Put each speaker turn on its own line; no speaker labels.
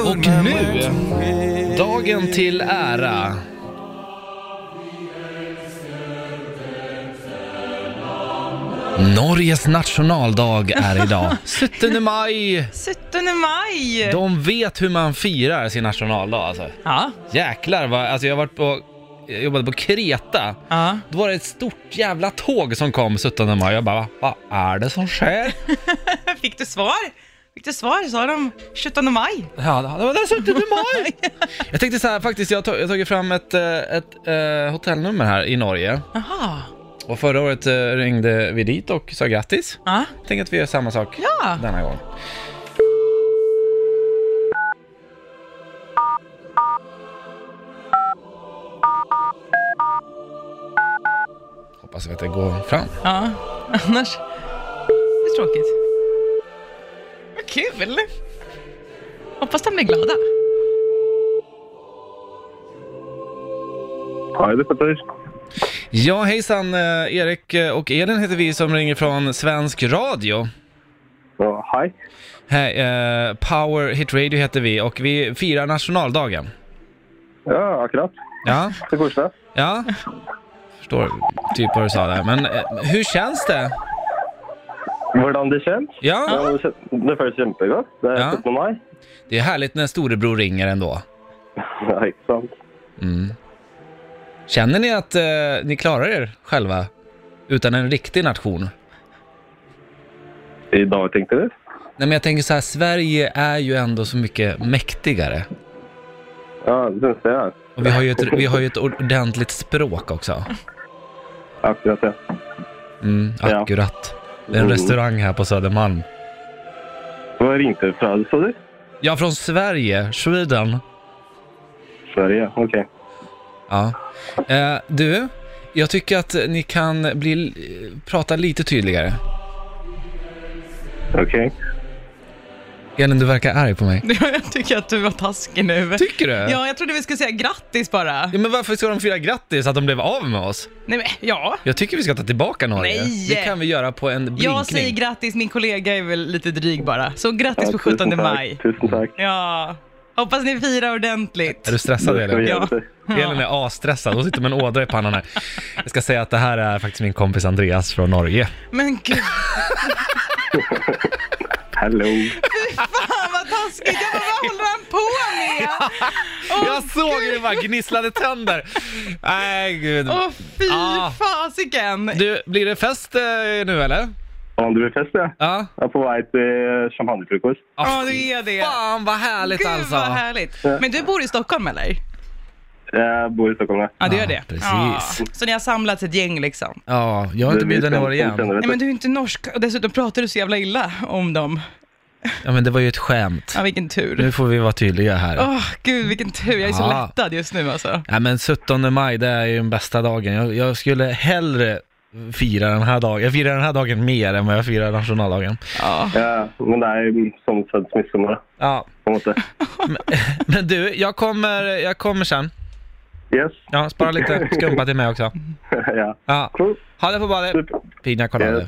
Och nu, dagen till ära. Norges nationaldag är idag. 17 maj.
17 maj!
De vet hur man firar sin nationaldag alltså.
Ja,
Jäklar vad, alltså jag har varit på, jag jobbade på Kreta.
ja.
Då var det ett stort jävla tåg som kom 17 maj. Jag bara, "Va- vad är det som sker?
Fick du svar? Fick du svar? Sa de 17 maj?
Ja, det hade varit 17 maj! Jag tänkte så här faktiskt, jag har tag- jag har tagit fram ett, eh, ett eh, hotellnummer här i Norge.
Jaha.
Och förra året eh, ringde vi dit och sa grattis.
Ja.
Tänk att vi gör samma sak
Ja.
denna gång. Hoppas att det går fram.
ja. Annars... Det är tråkigt. Vad kul! Hoppas de blir glada.
Ja, det fattar jag.
Ja, hejsan. eh, Erik och Elin heter vi som ringer från Svensk Radio.
Ja, hej.
Hej, eh, Power Hit Radio heter vi och vi firar nationaldagen.
Ja, akkurat.
Ja,
Det går snabbt.
ja. Förstår typ vad du sa där. Men eh, hur känns det?
Hvordan det känns?
Ja,
Ja, det kän- det føles kjempegodt. Det er
Ja.
17. mai.
det är härligt när storebror ringer ändå.
Ja, ikke sant?
Känner ni att eh, ni klarar er själva utan en riktig nation?
I dag tenkte du?
Nej, men jag tänker så här, Sverige är ju ändå så mycket mäktigare.
Ja, det syns jeg. ja.
Och vi har ju ett, vi har ju ett ordentligt språk också.
Akkurat det.
Mm,
Ja.
akkurat. Det är en restaurang här på Södermalm.
Hvor ringte du fra, sa du?
Ja, från Sverige, Sweden.
Sverige, ok.
Ja. Eh, du, jag tycker att ni kan bli, eh, prata lite tydligare.
Ok.
Elin, du verkar arg på mig.
Jag tycker att du var taskig nu.
Tycker du?
Ja, jag trodde vi skulle säga grattis bara.
Ja, men varför ska de fira grattis att de blev av med oss?
Nej, men ja.
Jag tycker vi ska ta tillbaka Norge.
Nej.
Det kan vi göra på en blinkning.
Jag säger grattis, min kollega är väl lite dryg bara. Så grattis på 17
tusen takk,
maj.
Tusen takk.
Ja. Hoppas ni firar ordentligt.
Är du stressad
Det skal vi
Elin?
gjøre.
Ja.
til.
Elin är asstressad, hon sitter med en ådra i pannan här. Jag ska säga att det här är faktiskt min kompis Andreas från Norge.
Men gud,
Hello.
fan vad taskigt! Jag bara, vad håller han på med?
Jag såg hur det bara gnisslade tänder! Nej gud.
Åh fy
Ah.
fasiken!
Du, blir det fest eh, nu eller?
Om du vil fest, ja.
Ja? Ah,
Jeg er på vei til champagnefrokost.
Ja, det är det.
Fan vad härligt
Gud
alltså!
vad härligt. Men du bor i Stockholm eller?
Jeg bor i Stockholm, ja.
Ja, du gör
Ja,
det.
precis.
Så ni har samlats ett gäng liksom?
Ja, jag har inte
Vi
bjuden i
kjenner-
år igen.
kjenner
Nej men
det.
du är inte norsk och dessutom pratar du så jävla illa om dem.
Ja men det var ju ett skämt.
Ja, vilken tur.
Nu får vi vara tydliga här.
Åh gud, vilken tur. Jag är så
Ja.
lättad just nu alltså.
Ja, men 17 maj, det är ju den bästa dagen. Jag, jag skulle hellre fira den här dagen. Jag firar den här dagen mer än vad jag firar nationaldagen.
Ja.
Ja, men det er jo sånn sett midtsommer, da,
Ja,
på en måte.
men du, jag kommer, jag kommer sen.
Yes.
Ja, spara lite skumpa till mig också.
ja.
Ja,
Cool.
ha det på badet.
Super.
Pina colada.